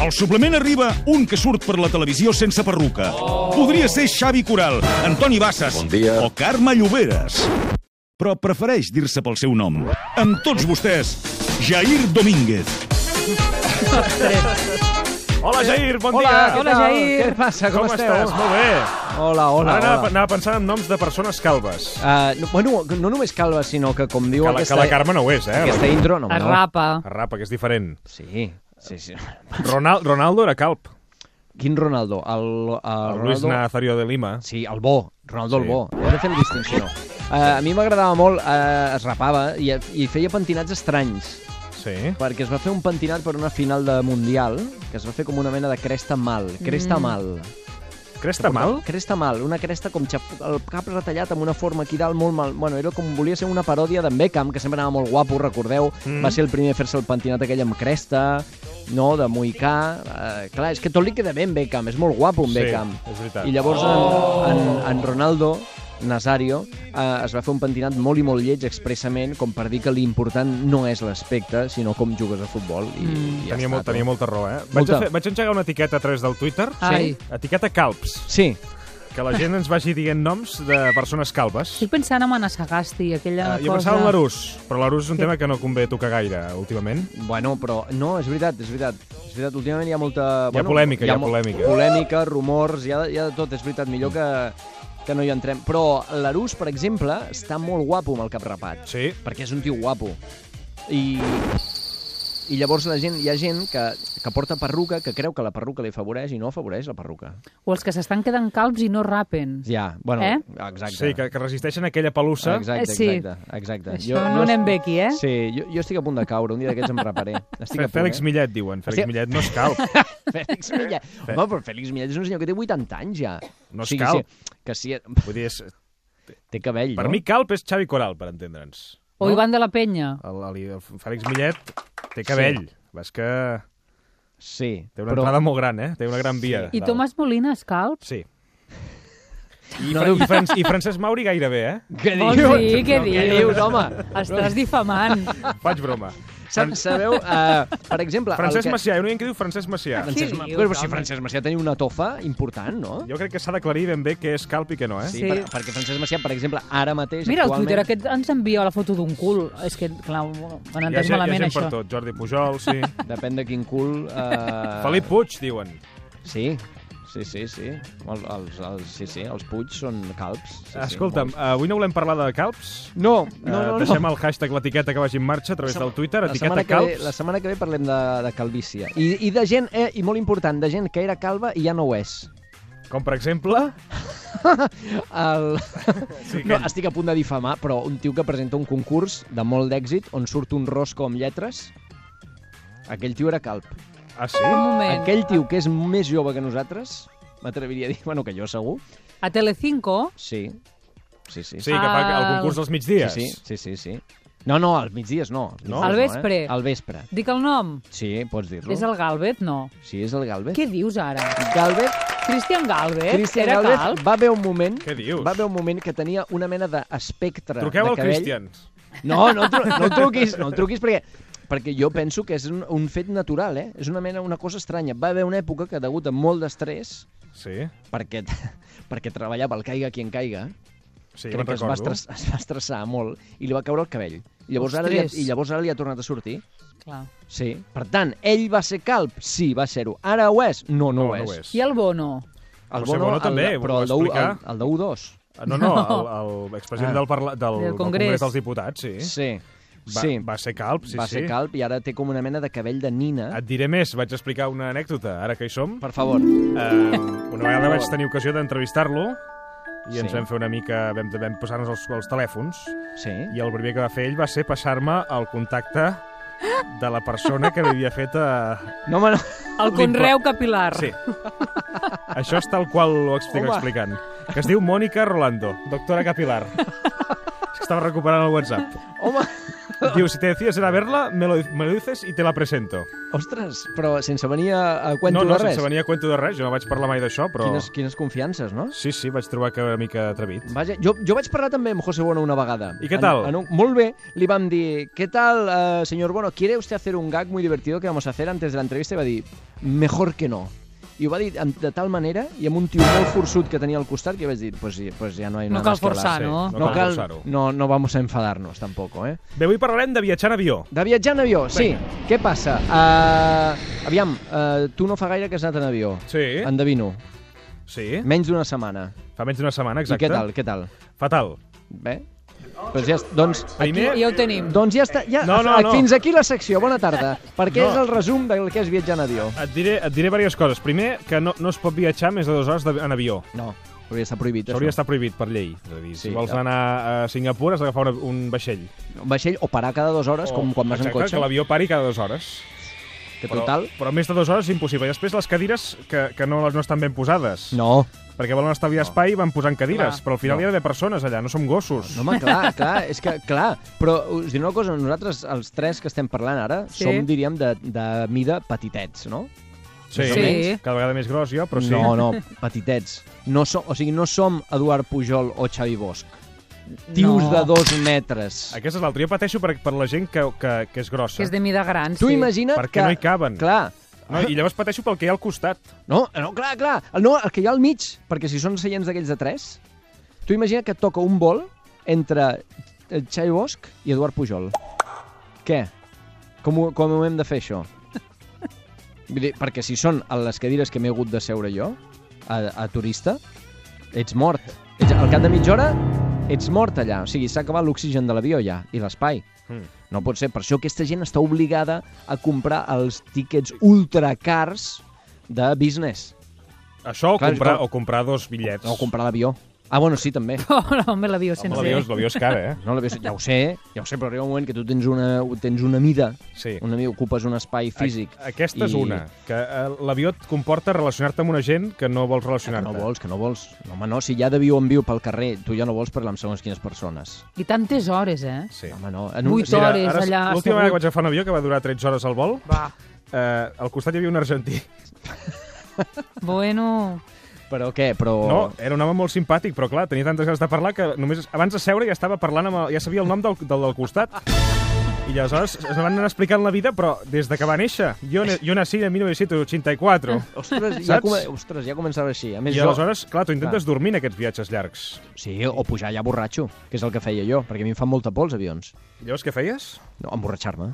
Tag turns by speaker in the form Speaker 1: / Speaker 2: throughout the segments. Speaker 1: Al suplement arriba un que surt per la televisió sense perruca. Podria ser Xavi Coral, Antoni Bassas
Speaker 2: Bon dia.
Speaker 1: o Carme Lloberes. Però prefereix dir-se pel seu nom. Amb tots vostès, Jair Domínguez.
Speaker 3: Hola, Jair, bon
Speaker 4: Hola,
Speaker 3: dia.
Speaker 4: què Hola, tal? Jair. Què passa? Com esteu?
Speaker 3: estàs? Molt bé.
Speaker 4: Hola,
Speaker 3: Ara
Speaker 4: hola,
Speaker 3: anava,
Speaker 4: hola.
Speaker 3: anava pensant en noms de persones calbes.
Speaker 4: Uh, no, bueno, no només calva, sinó que, com diu
Speaker 3: Que la,
Speaker 4: aquesta,
Speaker 3: que la Carme no ho és, eh?
Speaker 4: aquesta intro... No,
Speaker 5: Es
Speaker 4: no.
Speaker 5: rapa.
Speaker 3: La rapa, que és diferent.
Speaker 4: Sí, sí, sí.
Speaker 3: Ronald, Ronaldo era calb.
Speaker 4: Quin Ronaldo? El, el,
Speaker 3: El Luis
Speaker 4: Ronaldo...
Speaker 3: Nazario de Lima.
Speaker 4: Sí, el bo, Ronaldo
Speaker 3: Sí.
Speaker 4: sí. el bo. Hem de fer la distinció. Uh, a mi m'agradava molt, uh, es rapava i, i feia pentinats estranys,
Speaker 3: Sí.
Speaker 4: perquè es va fer un pentinat per una final de Mundial, que es va fer com una mena de cresta mal, cresta mm. mal.
Speaker 3: Cresta mal?
Speaker 4: Cresta mal, una cresta com xap... el cap retallat amb una forma aquí dalt molt mal. Bueno, era com volia ser una paròdia d'en Beckham, que sempre anava molt guapo, recordeu. Mm. Va ser el primer a fer-se el pentinat aquell amb cresta, no, de moicà. Eh, clar, és que tot li queda bé en Beckham, és molt guapo en
Speaker 3: Sí,
Speaker 4: Beckham.
Speaker 3: és veritat.
Speaker 4: I llavors oh! en, en, en Ronaldo Nazario eh, es va fer un pentinat molt i molt lleig expressament com per dir que l'important no és l'aspecte, sinó com jugues a futbol. I, mm. i ja
Speaker 3: Tenia,
Speaker 4: està,
Speaker 3: molt,
Speaker 4: tu. Ah.
Speaker 3: tenia molta raó, eh? Vaig,
Speaker 4: Molta.
Speaker 3: a fer, vaig engegar una etiqueta a través del Twitter.
Speaker 5: Ai.
Speaker 3: Etiqueta calbs.
Speaker 4: Sí,
Speaker 3: Que la gent ens vagi dient noms de persones calbes.
Speaker 5: Estic pensant en Anasagasti, aquella
Speaker 4: Ah,
Speaker 3: Uh,
Speaker 5: cosa...
Speaker 3: jo pensava en l'Arús, però l'Arús és un tema que no convé tocar gaire últimament.
Speaker 4: Bueno, però no, és veritat, és veritat. És veritat, últimament hi ha molta...
Speaker 3: Hi ha
Speaker 4: bueno,
Speaker 3: polèmica, hi ha
Speaker 4: mo-
Speaker 3: polèmica.
Speaker 4: Polèmica, rumors, hi ha, hi ha de tot, és veritat, millor que, que no hi entrem. Però l'Arús, per exemple, està molt guapo amb el cap rapat,
Speaker 3: Sí.
Speaker 4: perquè és un tio guapo. I, i llavors la gent, hi ha gent que, que porta perruca, que creu que la perruca li afavoreix i no afavoreix la perruca.
Speaker 5: O els que s'estan quedant calbs i no rapen.
Speaker 4: Ja, bueno,
Speaker 5: Eh?
Speaker 4: exacte.
Speaker 3: Sí, que, que resisteixen aquella pelussa.
Speaker 4: Exacte,
Speaker 5: Sí.
Speaker 4: exacte, exacte.
Speaker 5: Això no anem bé aquí, eh?
Speaker 4: Sí, jo, jo estic a punt de caure, un dia d'aquests em reparé. Estic a punt,
Speaker 3: Fèlix
Speaker 4: eh?
Speaker 3: Millet, diuen. Fèlix
Speaker 4: Hòstia.
Speaker 3: Millet no és calb.
Speaker 4: Fèlix Millet. Home, però Fèlix Millet és un senyor que té 80 anys ja.
Speaker 3: No és calb.
Speaker 4: Sí, que sí,
Speaker 3: Vull dir, és,
Speaker 4: té cabell,
Speaker 3: per
Speaker 4: no?
Speaker 3: mi calb és Xavi Coral, per entendre'ns.
Speaker 5: O Ivan de la Penya.
Speaker 3: El, el, el Fèlix Millet té cabell. Sí. És que
Speaker 4: Sí,
Speaker 3: té una però... entrada molt gran, eh? Té una gran via.
Speaker 5: I Tomàs Molina és calb?
Speaker 3: Sí. I, no, i, Fran i Francesc Mauri gairebé, eh?
Speaker 4: Què
Speaker 5: Vols
Speaker 4: dius?
Speaker 5: dir?
Speaker 4: Què
Speaker 5: Què dius?
Speaker 4: dius, home?
Speaker 5: Estàs difamant.
Speaker 3: Faig broma.
Speaker 4: Sa- Sabeu, uh, per exemple... el
Speaker 3: Francesc
Speaker 4: que-
Speaker 3: Macià, hi ha un oient que diu Francesc Macià.
Speaker 4: Francesc
Speaker 5: Què
Speaker 4: Ma-
Speaker 5: dius,
Speaker 4: Però si
Speaker 5: home?
Speaker 4: Francesc Macià tenia una tofa important, no?
Speaker 3: Jo crec que s'ha d'aclarir ben bé què és calb i què no, eh?
Speaker 4: Sí,
Speaker 5: Sí.
Speaker 4: Per, perquè Francesc Macià, per exemple, ara mateix...
Speaker 5: Mira, el
Speaker 4: actualment...
Speaker 5: Twitter aquest ens envia la foto d'un cul. És que, clar,
Speaker 3: Hi
Speaker 5: ho han
Speaker 3: ha,
Speaker 5: entès
Speaker 3: gent, hi ha
Speaker 5: malament,
Speaker 3: gent per
Speaker 5: això.
Speaker 3: tot. Jordi Pujol, sí.
Speaker 4: Depèn de quin cul... Uh...
Speaker 3: Felip Puig, diuen.
Speaker 4: Sí, sí, sí, sí. El, els, els, sí, sí, els Puig són calbs. Sí,
Speaker 3: Escolta'm, eh,
Speaker 4: Sí,
Speaker 3: avui no volem parlar de calbs?
Speaker 4: molt. no,
Speaker 3: Eh,
Speaker 4: no, no, no.
Speaker 3: Deixem el hashtag, l'etiqueta que vagi en marxa a través del Twitter,
Speaker 4: La setmana,
Speaker 3: etiqueta
Speaker 4: que ve,
Speaker 3: calbs.
Speaker 4: la setmana que ve parlem de, de calvície. I, I de gent, eh, i molt important, de gent que era calva i ja no ho és.
Speaker 3: Com per exemple... ah,
Speaker 4: El...
Speaker 3: Sí,
Speaker 4: No, estic a punt de difamar, però un tio que presenta un concurs de molt d'èxit on surt un rosco amb lletres, aquell tio era calb.
Speaker 3: Ah, sí?
Speaker 5: Un moment.
Speaker 4: Aquell tio que és més jove que nosaltres, m'atreviria a dir, bueno, que jo segur,
Speaker 5: A Telecinco,
Speaker 4: sí. Sí, sí.
Speaker 3: Sí, que fa el concurs dels migdies.
Speaker 4: sí, sí, sí, sí. No, no, als migdies no. als
Speaker 3: No?
Speaker 4: migdies
Speaker 5: Al vespre.
Speaker 4: eh? Al vespre.
Speaker 5: dic el nom.
Speaker 4: Sí, pots dir-lo.
Speaker 5: És el Galvet? No.
Speaker 4: Sí, és el Galvez.
Speaker 5: Què dius ara?
Speaker 4: Galvez
Speaker 5: Cristian Galvez
Speaker 4: Cristian
Speaker 5: Eh, era
Speaker 4: Galvez
Speaker 5: calb?
Speaker 4: va haver un moment...
Speaker 3: Què dius?
Speaker 4: Va haver un moment que tenia una mena d'espectre
Speaker 3: Truqueu
Speaker 4: de
Speaker 3: al
Speaker 4: cabell.
Speaker 3: Christian.
Speaker 4: No, no, tru no el truquis, no el truquis perquè perquè jo penso que és un, un fet natural, eh? És una mena, una cosa estranya. Va haver una època que, degut a molt d'estrès,
Speaker 3: Sí,
Speaker 4: perquè, perquè treballava el caiga qui en caiga,
Speaker 3: sí,
Speaker 4: crec
Speaker 3: me'n
Speaker 4: que es va,
Speaker 3: recordo.
Speaker 4: estres, es va estressar molt, i li va caure el cabell. I llavors, ara li ha,
Speaker 5: Ostres.
Speaker 4: I llavors ara li ha tornat a sortir.
Speaker 5: Clar.
Speaker 4: Sí. Per tant, ell va ser calb? Sí, va ser-ho. Ara ho és? No,
Speaker 3: No,
Speaker 4: no, ho és.
Speaker 3: no ho és.
Speaker 5: I el Bono?
Speaker 4: El
Speaker 3: José Bono també, ho va
Speaker 4: però el de u-
Speaker 3: explicar.
Speaker 4: el, el de U2.
Speaker 3: No, no, el, el expresident
Speaker 4: Ah.
Speaker 3: del, parla, del,
Speaker 5: Del
Speaker 3: del Congrés
Speaker 5: Congrés.
Speaker 3: dels Diputats, sí.
Speaker 4: Sí.
Speaker 3: Va,
Speaker 4: sí.
Speaker 3: va ser calb, sí,
Speaker 4: va
Speaker 3: sí.
Speaker 4: ser calb i ara té com una mena de cabell de nina.
Speaker 3: Et diré més, vaig explicar una anècdota, ara que hi som.
Speaker 4: Per favor.
Speaker 3: Eh, una vegada vaig tenir ocasió d'entrevistar-lo i ens
Speaker 4: Sí.
Speaker 3: vam fer una mica... vam, vam posar-nos els, els telèfons
Speaker 4: Sí.
Speaker 3: I el primer que va fer ell va ser passar-me el contacte de la persona que li havia fet a...
Speaker 4: No, home, no.
Speaker 5: El conreu capilar.
Speaker 3: Sí. Això és tal qual ho estic
Speaker 4: Home.
Speaker 3: explicant. Que es diu Mònica Rolando, doctora capilar. És que estava recuperant el WhatsApp.
Speaker 4: Home,
Speaker 3: Diu, si te decides ir a verla, me lo, me lo dices i te la presento.
Speaker 4: Ostres, però sense venir a, a cuento
Speaker 3: no, no,
Speaker 4: de res.
Speaker 3: sense venir a cuento de res, jo no vaig parlar mai d'això, però...
Speaker 4: Quines, quines confiances, no?
Speaker 3: Sí, sí, vaig trobar que una mica atrevit.
Speaker 4: Vaja, jo, jo vaig parlar també amb José Bono una vegada.
Speaker 3: I què tal?
Speaker 4: En, en un, molt bé, li vam dir, ¿qué tal, eh, señor Bono? ¿Quiere usted hacer un gag muy divertido que vamos a hacer antes de la entrevista? I va dir, mejor que no. I ho va dir amb- de tal manera i amb un tio molt forçut que tenia al costat que vaig dir, pues, sí, pues ja no hay
Speaker 5: No
Speaker 4: nada
Speaker 5: cal
Speaker 4: más que hablar.
Speaker 5: forçar,
Speaker 3: sí.
Speaker 5: no?
Speaker 3: No
Speaker 4: No,
Speaker 3: cal
Speaker 4: cal,
Speaker 3: forçar-ho.
Speaker 4: no, no vamos a enfadarnos tampoco, eh?
Speaker 3: Bé, avui parlarem de viatjar en avió.
Speaker 4: De viatjar en avió, sí. Què passa? Uh, aviam, uh, tu no fa gaire que has anat en avió.
Speaker 3: Sí.
Speaker 4: Endevino.
Speaker 3: Sí,
Speaker 4: Menys d'una setmana.
Speaker 3: fa menys d'una setmana, exacte.
Speaker 4: I què tal, què tal?
Speaker 3: Fatal.
Speaker 4: Bé? Pues ja, doncs,
Speaker 3: Primer,
Speaker 5: Ja ho tenim.
Speaker 4: doncs ja està. Ja,
Speaker 3: No, no, no.
Speaker 4: Fins aquí la secció. Bona tarda. Perquè
Speaker 3: No.
Speaker 4: és el resum del que és viatjar en avió.
Speaker 3: et diré, et diré diverses coses. Primer, que no, no es pot viatjar més de dues hores de, en avió.
Speaker 4: No, hauria d'estar prohibit.
Speaker 3: Això hauria
Speaker 4: això.
Speaker 3: d'estar prohibit per llei. És a dir, si
Speaker 4: Sí,
Speaker 3: vols
Speaker 4: clar.
Speaker 3: anar a Singapur has d'agafar un, un vaixell.
Speaker 4: Un vaixell o parar cada dues hores, com quan vas en
Speaker 3: Oh, exacte,
Speaker 4: cotxe.
Speaker 3: que l'avió pari cada dues hores.
Speaker 4: Que total...
Speaker 3: Però, però més de dues hores és impossible. I després les cadires, que, que no, no estan ben posades.
Speaker 4: No.
Speaker 3: Perquè volen estalviar espai i van posant cadires.
Speaker 5: Clar.
Speaker 3: Però al final hi ha d'haver persones allà, no som gossos.
Speaker 4: No, home, clar, clar, és que, clar. Però us diré una cosa, nosaltres, els tres que estem parlant ara,
Speaker 5: Sí.
Speaker 4: som, diríem, de, de mida petitets, no?
Speaker 3: sí.
Speaker 5: Sí.
Speaker 3: Cada vegada més gros jo, però sí.
Speaker 4: No, no, petitets. No som, o sigui, no som Eduard Pujol o Xavi Bosch. Tios
Speaker 5: No.
Speaker 4: de dos metres.
Speaker 3: Aquesta és l'altra. Jo pateixo per, per la gent que, que, que és grossa.
Speaker 5: Que és de mida gran,
Speaker 4: Tu
Speaker 5: sí.
Speaker 4: imagina't
Speaker 3: Perquè
Speaker 4: que...
Speaker 3: no hi caben.
Speaker 4: Clar.
Speaker 3: no, I llavors pateixo pel que hi ha al costat.
Speaker 4: No, no, clar, clar. El- No, el que hi ha al mig, perquè si són seients d'aquells de 3, tu imagina que et toca un vol entre eh, Xai Bosch i Eduard Pujol. Què? Com ho, com ho hem de fer, això? Vull dir, perquè si són a les cadires que m'he hagut de seure jo, a, a turista, ets mort. Ets, al cap de mitja hora ets mort allà. O sigui, s'ha acabat l'oxigen de l'avió ja, i l'espai.
Speaker 3: Mm.
Speaker 4: No pot ser. Per això aquesta gent està obligada a comprar els tíquets ultracars de business.
Speaker 3: Això o,
Speaker 4: Clar,
Speaker 3: comprar,
Speaker 4: clar.
Speaker 3: o comprar dos bitllets.
Speaker 4: O comprar l'avió. Ah, bueno, sí, també.
Speaker 5: Hola, home, l'avió sencer.
Speaker 3: L'avió és- l'avió és car, eh?
Speaker 4: No, l'avió, ja ho sé, ja ho sé, però arriba un moment que tu tens una, tens una mida,
Speaker 3: Sí.
Speaker 4: una mida, ocupes un espai físic. Ah,
Speaker 3: A- Aquesta és una, que eh, l'avió et comporta relacionar-te amb una gent que no vols
Speaker 4: Que
Speaker 3: relacionar-te.
Speaker 4: no vols, que no vols. No, home, no, si ja de viu en viu pel carrer, tu ja no vols parlar amb segons quines persones.
Speaker 5: I tantes hores, eh?
Speaker 3: Sí.
Speaker 4: Home, no. En un,
Speaker 5: Vuit
Speaker 4: mira,
Speaker 5: hores
Speaker 3: ara,
Speaker 5: allà
Speaker 3: L'última vegada
Speaker 5: assegut.
Speaker 3: que vaig agafar un avió, que va durar 13 hores al vol,
Speaker 5: Va.
Speaker 3: eh, al costat hi havia un argentí.
Speaker 5: Bueno,
Speaker 4: Però què? Però...
Speaker 3: No, era un home molt simpàtic, però clar, tenia tantes ganes de parlar que només abans de seure ja estava parlant amb el, ja sabia el nom del, del, del costat. I aleshores es van anar explicant la vida, però des de que va néixer. Jo, ne- jo nací en 1984.
Speaker 4: Ostres, ja,
Speaker 3: Saps?
Speaker 4: come... Ostres, ja començava així. A més,
Speaker 3: I
Speaker 4: jo...
Speaker 3: aleshores, clar, tu intentes dormir en aquests viatges llargs.
Speaker 4: Sí, o pujar ja borratxo, que és el que feia jo, perquè a mi em fan molta por els avions.
Speaker 3: Llavors, què feies?
Speaker 4: No, emborratxar-me.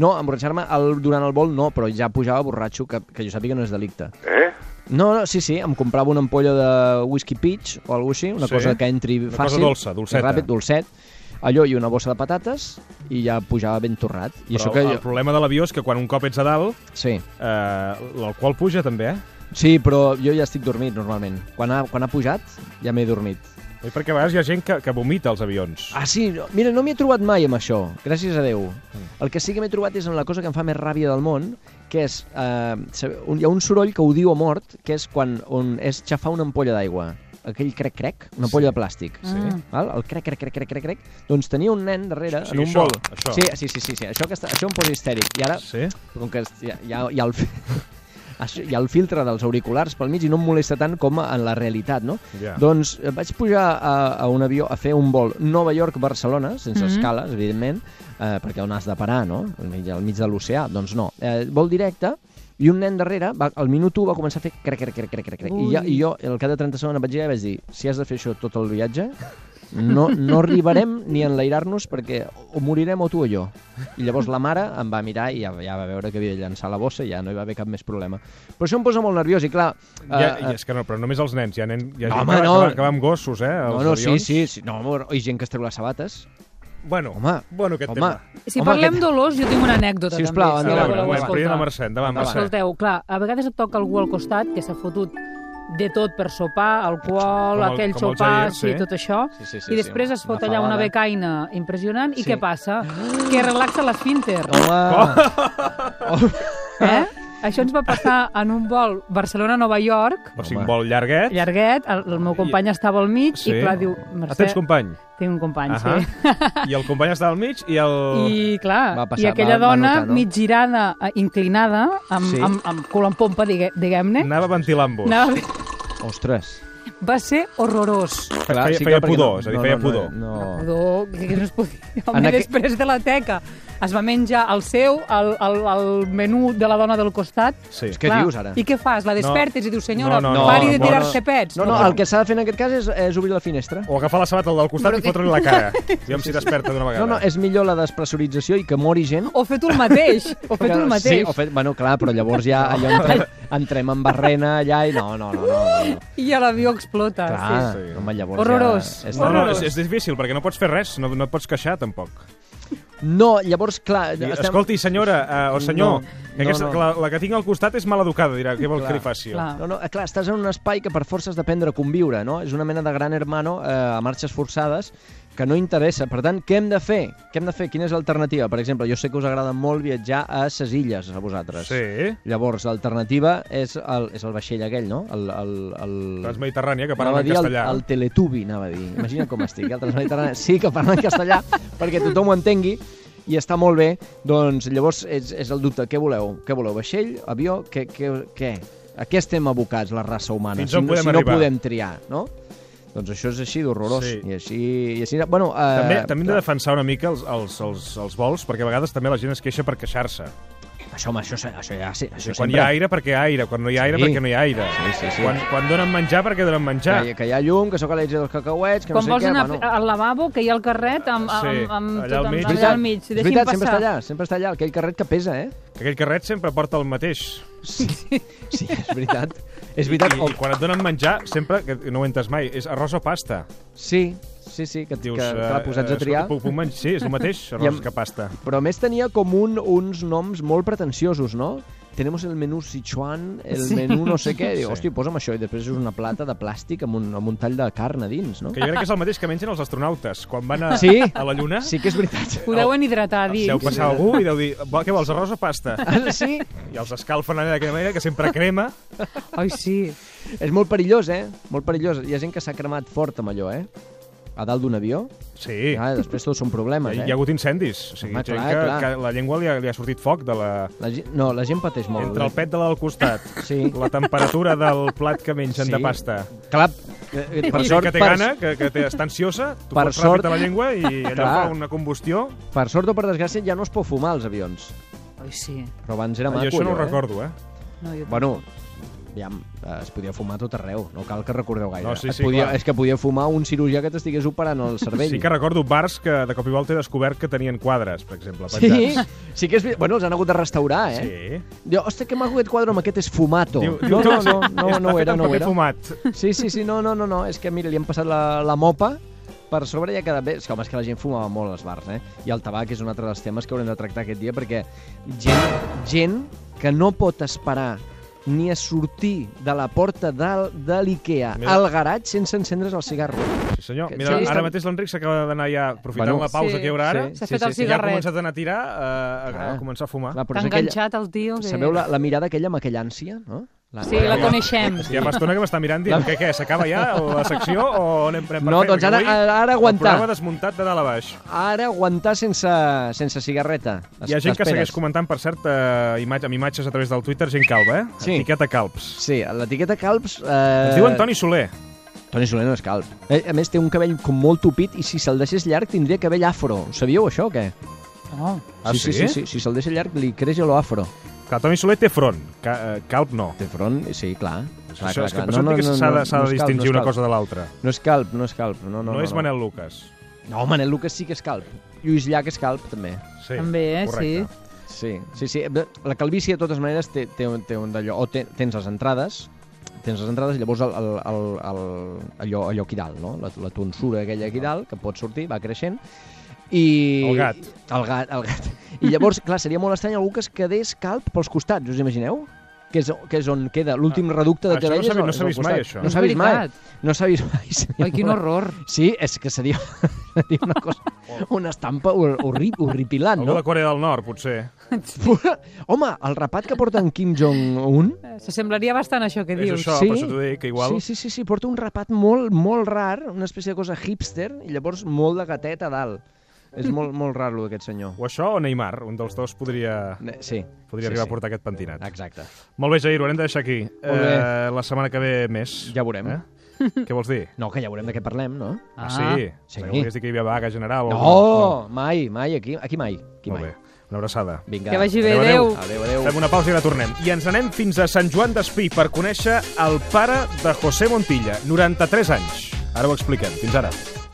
Speaker 4: No, emborratxar-me el, durant el vol no, però ja pujava borratxo, que, que jo sàpiga que no és delicte. Eh? No, no, sí, sí, em comprava una ampolla de whisky peach o alguna així, una
Speaker 3: Sí.
Speaker 4: sí. cosa que entri
Speaker 3: Una cosa
Speaker 4: fàcil.
Speaker 3: dolça, dolceta.
Speaker 4: i Ràpid, dolcet. Allò i una bossa de patates i ja pujava ben torrat. I
Speaker 3: Però
Speaker 4: això que
Speaker 3: el,
Speaker 4: jo...
Speaker 3: el problema de l'avió és que quan un cop ets a dalt,
Speaker 4: Sí.
Speaker 3: Eh, L'alcohol puja, també, eh?
Speaker 4: sí, però jo ja estic dormit normalment. Quan ha, quan ha pujat ja m'he dormit.
Speaker 3: Oi? Perquè a vegades hi ha gent que, que vomita als avions.
Speaker 4: Ah, sí? no- Mira, no m'hi he trobat mai amb això, gràcies a Déu. El que sí que m'he trobat és amb la cosa que em fa més ràbia del món, que és... Eh, sabe- un, hi ha un soroll que ho diu a mort, que és quan on és xafar una ampolla d'aigua. Aquell crec-crec, una ampolla de plàstic.
Speaker 3: Sí. Mm.
Speaker 4: Val? El crec, crec, crec, crec, crec, crec. Doncs tenia un nen darrere,
Speaker 3: O
Speaker 4: en
Speaker 3: sigui,
Speaker 4: un
Speaker 3: això,
Speaker 4: vol.
Speaker 3: això.
Speaker 4: Sí, sí, sí, sí, sí. Això, que està, això em posa histèric. I ara,
Speaker 3: Sí?
Speaker 4: com que ja, ja, ja el... fi- Això, hi ha el filtre dels auriculars pel mig i no em molesta tant com en la realitat, no?
Speaker 3: Ja.
Speaker 4: Doncs eh, vaig pujar a, a un avió a fer un vol Nova York-Barcelona, sense mm -hmm. escales, evidentment, eh, perquè on has de parar, no? Al mig, al mig de l'oceà, doncs no. Eh, vol directe, i un nen darrere, va, al minut 1, va començar a fer crec, crec, crec, crec, crec, crec. I, ja,
Speaker 5: Ui.
Speaker 4: I jo, al cap de 30 segons, vaig girar i vaig dir, si has de fer això tot el viatge, no, no arribarem ni a enlairar-nos perquè o morirem o tu o jo. I llavors la mare em va mirar i ja, ja va veure que havia de llançar la bossa i ja no hi va haver cap més problema. Però això em posa molt nerviós i clar...
Speaker 3: Uh, ja,
Speaker 4: eh,
Speaker 3: ja, és que no, però només els nens. Hi ha, nen, hi ha gent
Speaker 4: No, home,
Speaker 3: que, va-
Speaker 4: no.
Speaker 3: que, va, que va amb gossos, eh? Als
Speaker 4: No, no, sí,
Speaker 3: avions.
Speaker 4: sí, sí. No, bueno, hi ha gent que es treu les sabates.
Speaker 3: Bueno,
Speaker 4: Home,
Speaker 3: bueno aquest
Speaker 4: home.
Speaker 3: tema.
Speaker 5: si
Speaker 4: Home,
Speaker 5: parlem
Speaker 4: aquest-
Speaker 5: d'olors, jo tinc una anècdota
Speaker 4: Sisplau,
Speaker 5: també.
Speaker 3: A
Speaker 4: endavant,
Speaker 3: veure,
Speaker 4: Endavant.
Speaker 3: bueno,
Speaker 4: Escolta.
Speaker 3: primer de Mercè, endavant,
Speaker 4: Endavant.
Speaker 3: Mercè.
Speaker 5: Escolteu, clar, a vegades et toca algú al costat que s'ha fotut de tot per sopar,
Speaker 3: Com
Speaker 5: alcohol,
Speaker 3: el-
Speaker 5: aquell
Speaker 3: com el
Speaker 5: sopar,
Speaker 3: Jair, sí.
Speaker 5: sí, tot això,
Speaker 4: Sí, sí, sí,
Speaker 5: i després
Speaker 4: sí,
Speaker 5: es fot
Speaker 4: una
Speaker 5: allà una
Speaker 4: fabada.
Speaker 5: becaina impressionant, i
Speaker 4: Sí.
Speaker 5: què passa? Que relaxa l'esfínter,
Speaker 4: Home! Oh.
Speaker 5: eh? Això ens va passar en un vol Barcelona-Nova York,
Speaker 3: O sigui,
Speaker 4: Home.
Speaker 3: un vol llarguet.
Speaker 5: llarguet, el, el meu company estava al mig i clar, diu,
Speaker 3: Ah,
Speaker 5: Mercè,
Speaker 3: tens company.
Speaker 5: tinc un company,
Speaker 3: Ahà.
Speaker 5: sí.
Speaker 3: I el company està al mig i el...
Speaker 5: I clar,
Speaker 4: Va passar,
Speaker 5: i aquella
Speaker 4: va- va
Speaker 5: dona
Speaker 4: notar, no?
Speaker 5: mig girada, eh, inclinada, amb,
Speaker 4: Sí.
Speaker 5: sí. amb, amb cul en pompa, digue- diguem-ne,
Speaker 3: Anava ventilant-vos.
Speaker 5: anava...
Speaker 4: Ostres.
Speaker 5: va ser horrorós.
Speaker 3: Feia- feia pudor, és a dir, feia pudor.
Speaker 4: No, no, no.
Speaker 5: Perdó, que que no es podia. Home,
Speaker 4: aqu-
Speaker 5: aqu... després de la teca es va menjar el seu, el, el, el menú de la dona del costat.
Speaker 3: Sí.
Speaker 4: És que- Què dius, ara?
Speaker 5: I què fas? La despertes no. i dius, senyora,
Speaker 3: No,
Speaker 5: no,
Speaker 3: no,
Speaker 5: no,
Speaker 3: no,
Speaker 5: pari de
Speaker 3: no,
Speaker 5: tirar-se pets.
Speaker 4: No, no, el que s'ha de fer en aquest cas és, és obrir la finestra.
Speaker 3: O agafar la sabata al del costat
Speaker 5: Però
Speaker 3: i
Speaker 5: que-
Speaker 3: fotre-li la cara. Aviam si desperta d'una vegada.
Speaker 4: No, no, és millor la despressurització i que mori gent.
Speaker 5: O fer tu el mateix. O fer tu el mateix.
Speaker 4: Sí, o fet... Bueno, clar, però llavors ja allò entrem, entrem en barrena allà i no, no, no. no, no.
Speaker 5: I a l'avió explota.
Speaker 4: Clar,
Speaker 5: Ah, Sí.
Speaker 4: sí,
Speaker 3: sí.
Speaker 4: home, llavors
Speaker 5: Horrorós.
Speaker 4: ja... és-
Speaker 3: No, no,
Speaker 5: Horrorós.
Speaker 3: és, és difícil, perquè no pots fer res, no, no et pots queixar, tampoc.
Speaker 4: No, llavors, clar...
Speaker 3: Estem... Escolti, senyora, uh, o senyor, no,
Speaker 4: No, no,
Speaker 3: no, aquesta,
Speaker 4: no.
Speaker 3: no. La, la que tinc al costat és mal educada, dirà, què vol
Speaker 4: Clar,
Speaker 3: que li faci? jo?
Speaker 5: clar.
Speaker 4: No, no, eh, clar, estàs en un espai que per força has d'aprendre a conviure, no? És una mena de gran hermano eh, a marxes forçades que no interessa. Per tant, què hem de fer? Què hem de fer? Quina és l'alternativa? Per exemple, jo sé que us agrada molt viatjar a ses illes, a vosaltres.
Speaker 3: Sí,
Speaker 4: Llavors, l'alternativa és, el, és el vaixell aquell, no? El, el, el...
Speaker 3: Transmediterrània, que
Speaker 4: Anava
Speaker 3: parlen
Speaker 4: a
Speaker 3: en
Speaker 4: dir
Speaker 3: castellà.
Speaker 4: El, el teletubi, anava a dir. Imagina com estic, el transmediterrani. Sí que parla en castellà, perquè tothom ho entengui, i està molt bé. Doncs llavors és, és el dubte. Què voleu? Què voleu? Vaixell? Avió? Què? què, què? A què estem abocats, la raça humana,
Speaker 3: Fins
Speaker 4: si,
Speaker 3: on
Speaker 4: no- si
Speaker 3: podem
Speaker 4: no
Speaker 3: arribar?
Speaker 4: podem triar, no? Doncs això és així d'horrorós.
Speaker 3: Sí.
Speaker 4: I així... I així bueno, eh,
Speaker 3: També, també hem de defensar una mica els, els, els, els vols, perquè a vegades també la gent es queixa per queixar-se.
Speaker 4: Això, home, això, això ja... Sí,
Speaker 3: Quan
Speaker 4: això sempre...
Speaker 3: hi ha aire, perquè hi ha aire. Quan no hi ha aire,
Speaker 4: Sí.
Speaker 3: perquè no hi ha aire.
Speaker 4: Sí, sí, sí.
Speaker 3: Quan, quan donen menjar, perquè donen menjar.
Speaker 4: Que, hi- que hi ha llum, que sóc al·lèrgic dels cacauets, que
Speaker 5: Quan
Speaker 4: no
Speaker 5: vols
Speaker 4: sé què...
Speaker 5: anar al lavabo, que hi ha el carret amb,
Speaker 3: Sí,
Speaker 5: amb, amb, amb,
Speaker 3: allà
Speaker 5: tot,
Speaker 3: al
Speaker 5: amb,
Speaker 3: mig.
Speaker 5: allà al mig.
Speaker 4: És
Speaker 5: Deixi'm
Speaker 4: veritat, sempre
Speaker 5: passar.
Speaker 4: està allà, sempre està allà, aquell carret que pesa, eh?
Speaker 3: Que aquell carret sempre porta el mateix.
Speaker 4: Sí, sí, és veritat. És
Speaker 3: I,
Speaker 4: veritat. O,
Speaker 3: I quan et donen menjar, sempre, que no ho entes mai, és arròs o pasta.
Speaker 4: sí, sí, sí, que, Dius,
Speaker 3: Dius,
Speaker 4: que, que l'ha
Speaker 3: eh,
Speaker 4: posats
Speaker 3: eh,
Speaker 4: a triar.
Speaker 3: escolta, Puc, puc menjar? Sí, és el mateix,
Speaker 4: I
Speaker 3: arròs
Speaker 4: amb-
Speaker 3: que pasta.
Speaker 4: Però a més tenia com un, uns noms molt pretensiosos, no? Tenemos el menú Sichuan, el sí. menú no sé què. Diu,
Speaker 3: Sí.
Speaker 4: hòstia, posa'm això. I després és una plata de plàstic amb un, amb un tall de carn a dins, no?
Speaker 3: Que jo crec que és el mateix que mengen els astronautes. Quan van a,
Speaker 4: Sí.
Speaker 3: a la Lluna,
Speaker 4: Sí que és veritat.
Speaker 5: Ho deuen hidratar,
Speaker 3: els
Speaker 5: dic.
Speaker 3: deu passar algú i deu dir, "Va, què vols, arròs o pasta?
Speaker 4: Ah, Sí,
Speaker 3: I els escalfen allà d'aquella manera, que sempre crema.
Speaker 5: Ai, sí.
Speaker 4: és molt perillós, eh? Molt perillós. Hi ha gent que s'ha cremat fort amb allò, eh? A dalt d'un avió.
Speaker 3: Sí,
Speaker 4: Ah, després tots són problemes,
Speaker 3: hi,
Speaker 4: eh?
Speaker 3: hi ha hagut incendis. O sigui,
Speaker 4: Home,
Speaker 3: gent
Speaker 4: clar,
Speaker 3: que,
Speaker 4: clar.
Speaker 3: que la llengua li ha, li ha sortit foc de la...
Speaker 4: La gent, no, la gent pateix molt.
Speaker 3: Entre el pet de la del costat,
Speaker 4: Sí.
Speaker 3: la temperatura del plat que mengen de
Speaker 4: Sí.
Speaker 3: pasta.
Speaker 4: Clar, eh, eh, per
Speaker 3: I
Speaker 4: sort,
Speaker 3: que té
Speaker 4: per,
Speaker 3: gana, que, que té, està ansiosa, tu
Speaker 4: Per
Speaker 3: fots ràpid
Speaker 4: sort-
Speaker 3: a la llengua i allò
Speaker 4: Clar.
Speaker 3: fa una combustió.
Speaker 4: per sort o per desgràcia ja no es pot fumar als avions.
Speaker 5: Ai, sí.
Speaker 4: Però abans era
Speaker 3: Ah, Jo
Speaker 4: maco.
Speaker 3: això no ho
Speaker 4: allò, eh?
Speaker 3: recordo, eh?
Speaker 5: No, jo...
Speaker 4: Bueno, ja eh, es podia fumar a tot arreu, no cal que recordeu gaire.
Speaker 3: No, sí,
Speaker 4: Es
Speaker 3: sí,
Speaker 4: podia,
Speaker 3: clar.
Speaker 4: és que podia fumar un cirurgià que t'estigués operant el cervell.
Speaker 3: Sí que recordo bars que de cop i volta he descobert que tenien quadres, per exemple,
Speaker 4: Sí,
Speaker 3: penjats.
Speaker 4: sí que és... vi- Bueno, els han hagut de restaurar, eh?
Speaker 3: Sí.
Speaker 4: Diu, hòstia, que maco aquest quadre, amb aquest és fumato.
Speaker 3: Diu- diu
Speaker 4: no,
Speaker 3: que
Speaker 4: no, no, no,
Speaker 3: està
Speaker 4: no, ho
Speaker 3: fet
Speaker 4: era,
Speaker 3: amb
Speaker 4: no ho
Speaker 3: paper
Speaker 4: era.
Speaker 3: fumat.
Speaker 4: Sí, sí, sí, no, no, no, no, és que mira, li han passat la, la mopa per sobre i ha quedat bé. És que, home, és que la gent fumava molt als bars, eh? I el tabac és un altre dels temes que haurem de tractar aquest dia perquè gent, gent que no pot esperar ni a sortir de la porta de, de l'IKEA
Speaker 3: Mira.
Speaker 4: al garatge sense encendre's el cigarro.
Speaker 3: Sí, senyor.
Speaker 4: Que-
Speaker 3: Mira,
Speaker 4: sí,
Speaker 3: ara
Speaker 4: està-
Speaker 3: mateix l'Enric s'acaba d'anar ja, aprofitant
Speaker 4: Bueno,
Speaker 3: la pausa
Speaker 5: Sí.
Speaker 3: que hi haurà ara,
Speaker 4: Sí, Ah.
Speaker 5: S'ha
Speaker 4: sí,
Speaker 5: fet
Speaker 4: sí,
Speaker 5: el
Speaker 4: sí.
Speaker 3: i ja ha
Speaker 5: cigarret.
Speaker 3: començat a anar a tirar, eh, a,
Speaker 4: Clar.
Speaker 3: a començar a fumar.
Speaker 4: Clar,
Speaker 5: T'ha
Speaker 4: és
Speaker 5: enganxat el tio. Que...
Speaker 4: Sabeu la, la mirada aquella amb aquella ànsia, no? La,
Speaker 5: Sí, la coneixem.
Speaker 3: Hi ha una estona que m'està mirant dient, què, què, s'acaba ja la secció o anem anem per
Speaker 4: No,
Speaker 3: fer?
Speaker 4: doncs
Speaker 3: Perquè
Speaker 4: ara-
Speaker 3: avui
Speaker 4: ara- ara
Speaker 3: El
Speaker 4: aguantar.
Speaker 3: programa desmuntat de dalt a baix.
Speaker 4: Ara aguantar sense, sense cigarreta. Es-
Speaker 3: Hi ha gent que
Speaker 4: t'esperes.
Speaker 3: segueix comentant, per cert, eh, imatge, amb imatges a través del Twitter, gent calba, eh?
Speaker 4: Sí.
Speaker 3: Etiqueta calbs.
Speaker 4: Sí, l'etiqueta Calps... Eh...
Speaker 3: Es diu Antoni Soler.
Speaker 4: Toni Soler no és calb. Eh, A més, té un cabell com molt tupit i si se'l deixés llarg tindria cabell afro. Ho sabíeu, això, o què?
Speaker 5: Oh.
Speaker 3: Ah,
Speaker 4: sí,
Speaker 3: sí?
Speaker 4: sí, sí, sí. Si se'l deixa llarg li creix lo afro.
Speaker 3: Clar, Toni Soler té front, ca, eh, calb no.
Speaker 4: Té front, sí, clar. clar,
Speaker 3: Això
Speaker 4: clar,
Speaker 3: és que
Speaker 4: clar.
Speaker 3: per això et dic que s'ha de, s'ha de
Speaker 4: és calb,
Speaker 3: distingir
Speaker 4: no és
Speaker 3: una
Speaker 4: calb.
Speaker 3: cosa de l'altra.
Speaker 4: No és calb, no és calb. No, no,
Speaker 3: No,
Speaker 4: no,
Speaker 3: és
Speaker 4: no.
Speaker 3: Manel Lucas.
Speaker 4: No, Manel Lucas sí que és calb. Lluís Llach és calb, també.
Speaker 3: Sí,
Speaker 5: També, eh,
Speaker 3: correcte.
Speaker 4: Sí, sí, sí. Bé, La calvície, de totes maneres, té, té, un- té un d'allò... O te, tens les entrades, tens les entrades, llavors el, el, el, el, allò, allò aquí dalt, no? La, la tonsura aquella aquí dalt, que pot sortir, va creixent, i...
Speaker 3: El gat.
Speaker 4: El gat, el gat. I llavors, clar, seria molt estrany algú que es quedés calp pels costats, us imagineu? que és, que és on queda l'últim reducte de
Speaker 3: Ah, això
Speaker 4: Terelles.
Speaker 3: no s'ha vist- no
Speaker 4: és al
Speaker 3: s'ha vist mai,
Speaker 4: costat.
Speaker 3: això.
Speaker 4: No
Speaker 5: És
Speaker 4: s'ha vist mai.
Speaker 5: veritat.
Speaker 4: No s'ha vist mai. seria
Speaker 5: Ai, quin
Speaker 4: una-
Speaker 5: horror.
Speaker 4: Sí, és que seria, seria una cosa, una estampa hor- horri, horripilant,
Speaker 3: Algú
Speaker 4: Ah, no?
Speaker 3: de Corea del Nord, potser.
Speaker 4: Home, el rapat que porta en Kim Jong-un...
Speaker 5: S'assemblaria bastant a això que
Speaker 3: És
Speaker 5: dius.
Speaker 3: això. per això t'ho dic, que igual-
Speaker 4: Sí, sí, sí, sí, porta un rapat molt, molt rar, una espècie de cosa hipster, i llavors molt de gatet a dalt. És molt, molt rar, lo d'aquest senyor.
Speaker 3: O això o Neymar, un dels dos podria,
Speaker 4: Ne- Sí.
Speaker 3: podria
Speaker 4: sí,
Speaker 3: arribar
Speaker 4: sí.
Speaker 3: a portar aquest pentinat.
Speaker 4: Exacte.
Speaker 3: Molt bé, Jair, ho haurem de deixar aquí.
Speaker 4: bé.
Speaker 3: Eh, la setmana que ve més.
Speaker 4: Ja veurem.
Speaker 3: Eh? Què vols dir?
Speaker 4: No, que ja veurem de què parlem, no?
Speaker 3: Ah, sí?
Speaker 4: sí.
Speaker 3: Que volies dir que hi havia vaga general. o-
Speaker 4: No, mai, mai, aquí, aquí mai. Aquí
Speaker 3: Molt
Speaker 4: mai.
Speaker 3: bé. Una abraçada.
Speaker 4: Vinga.
Speaker 5: Que vagi bé,
Speaker 3: Adéu, adéu.
Speaker 5: adéu.
Speaker 4: Adéu, adéu.
Speaker 3: Fem una pausa i la tornem. I ens anem fins a Sant Joan d'Espí per conèixer el pare de José Montilla, 93 anys. Ara ho expliquem. Fins ara.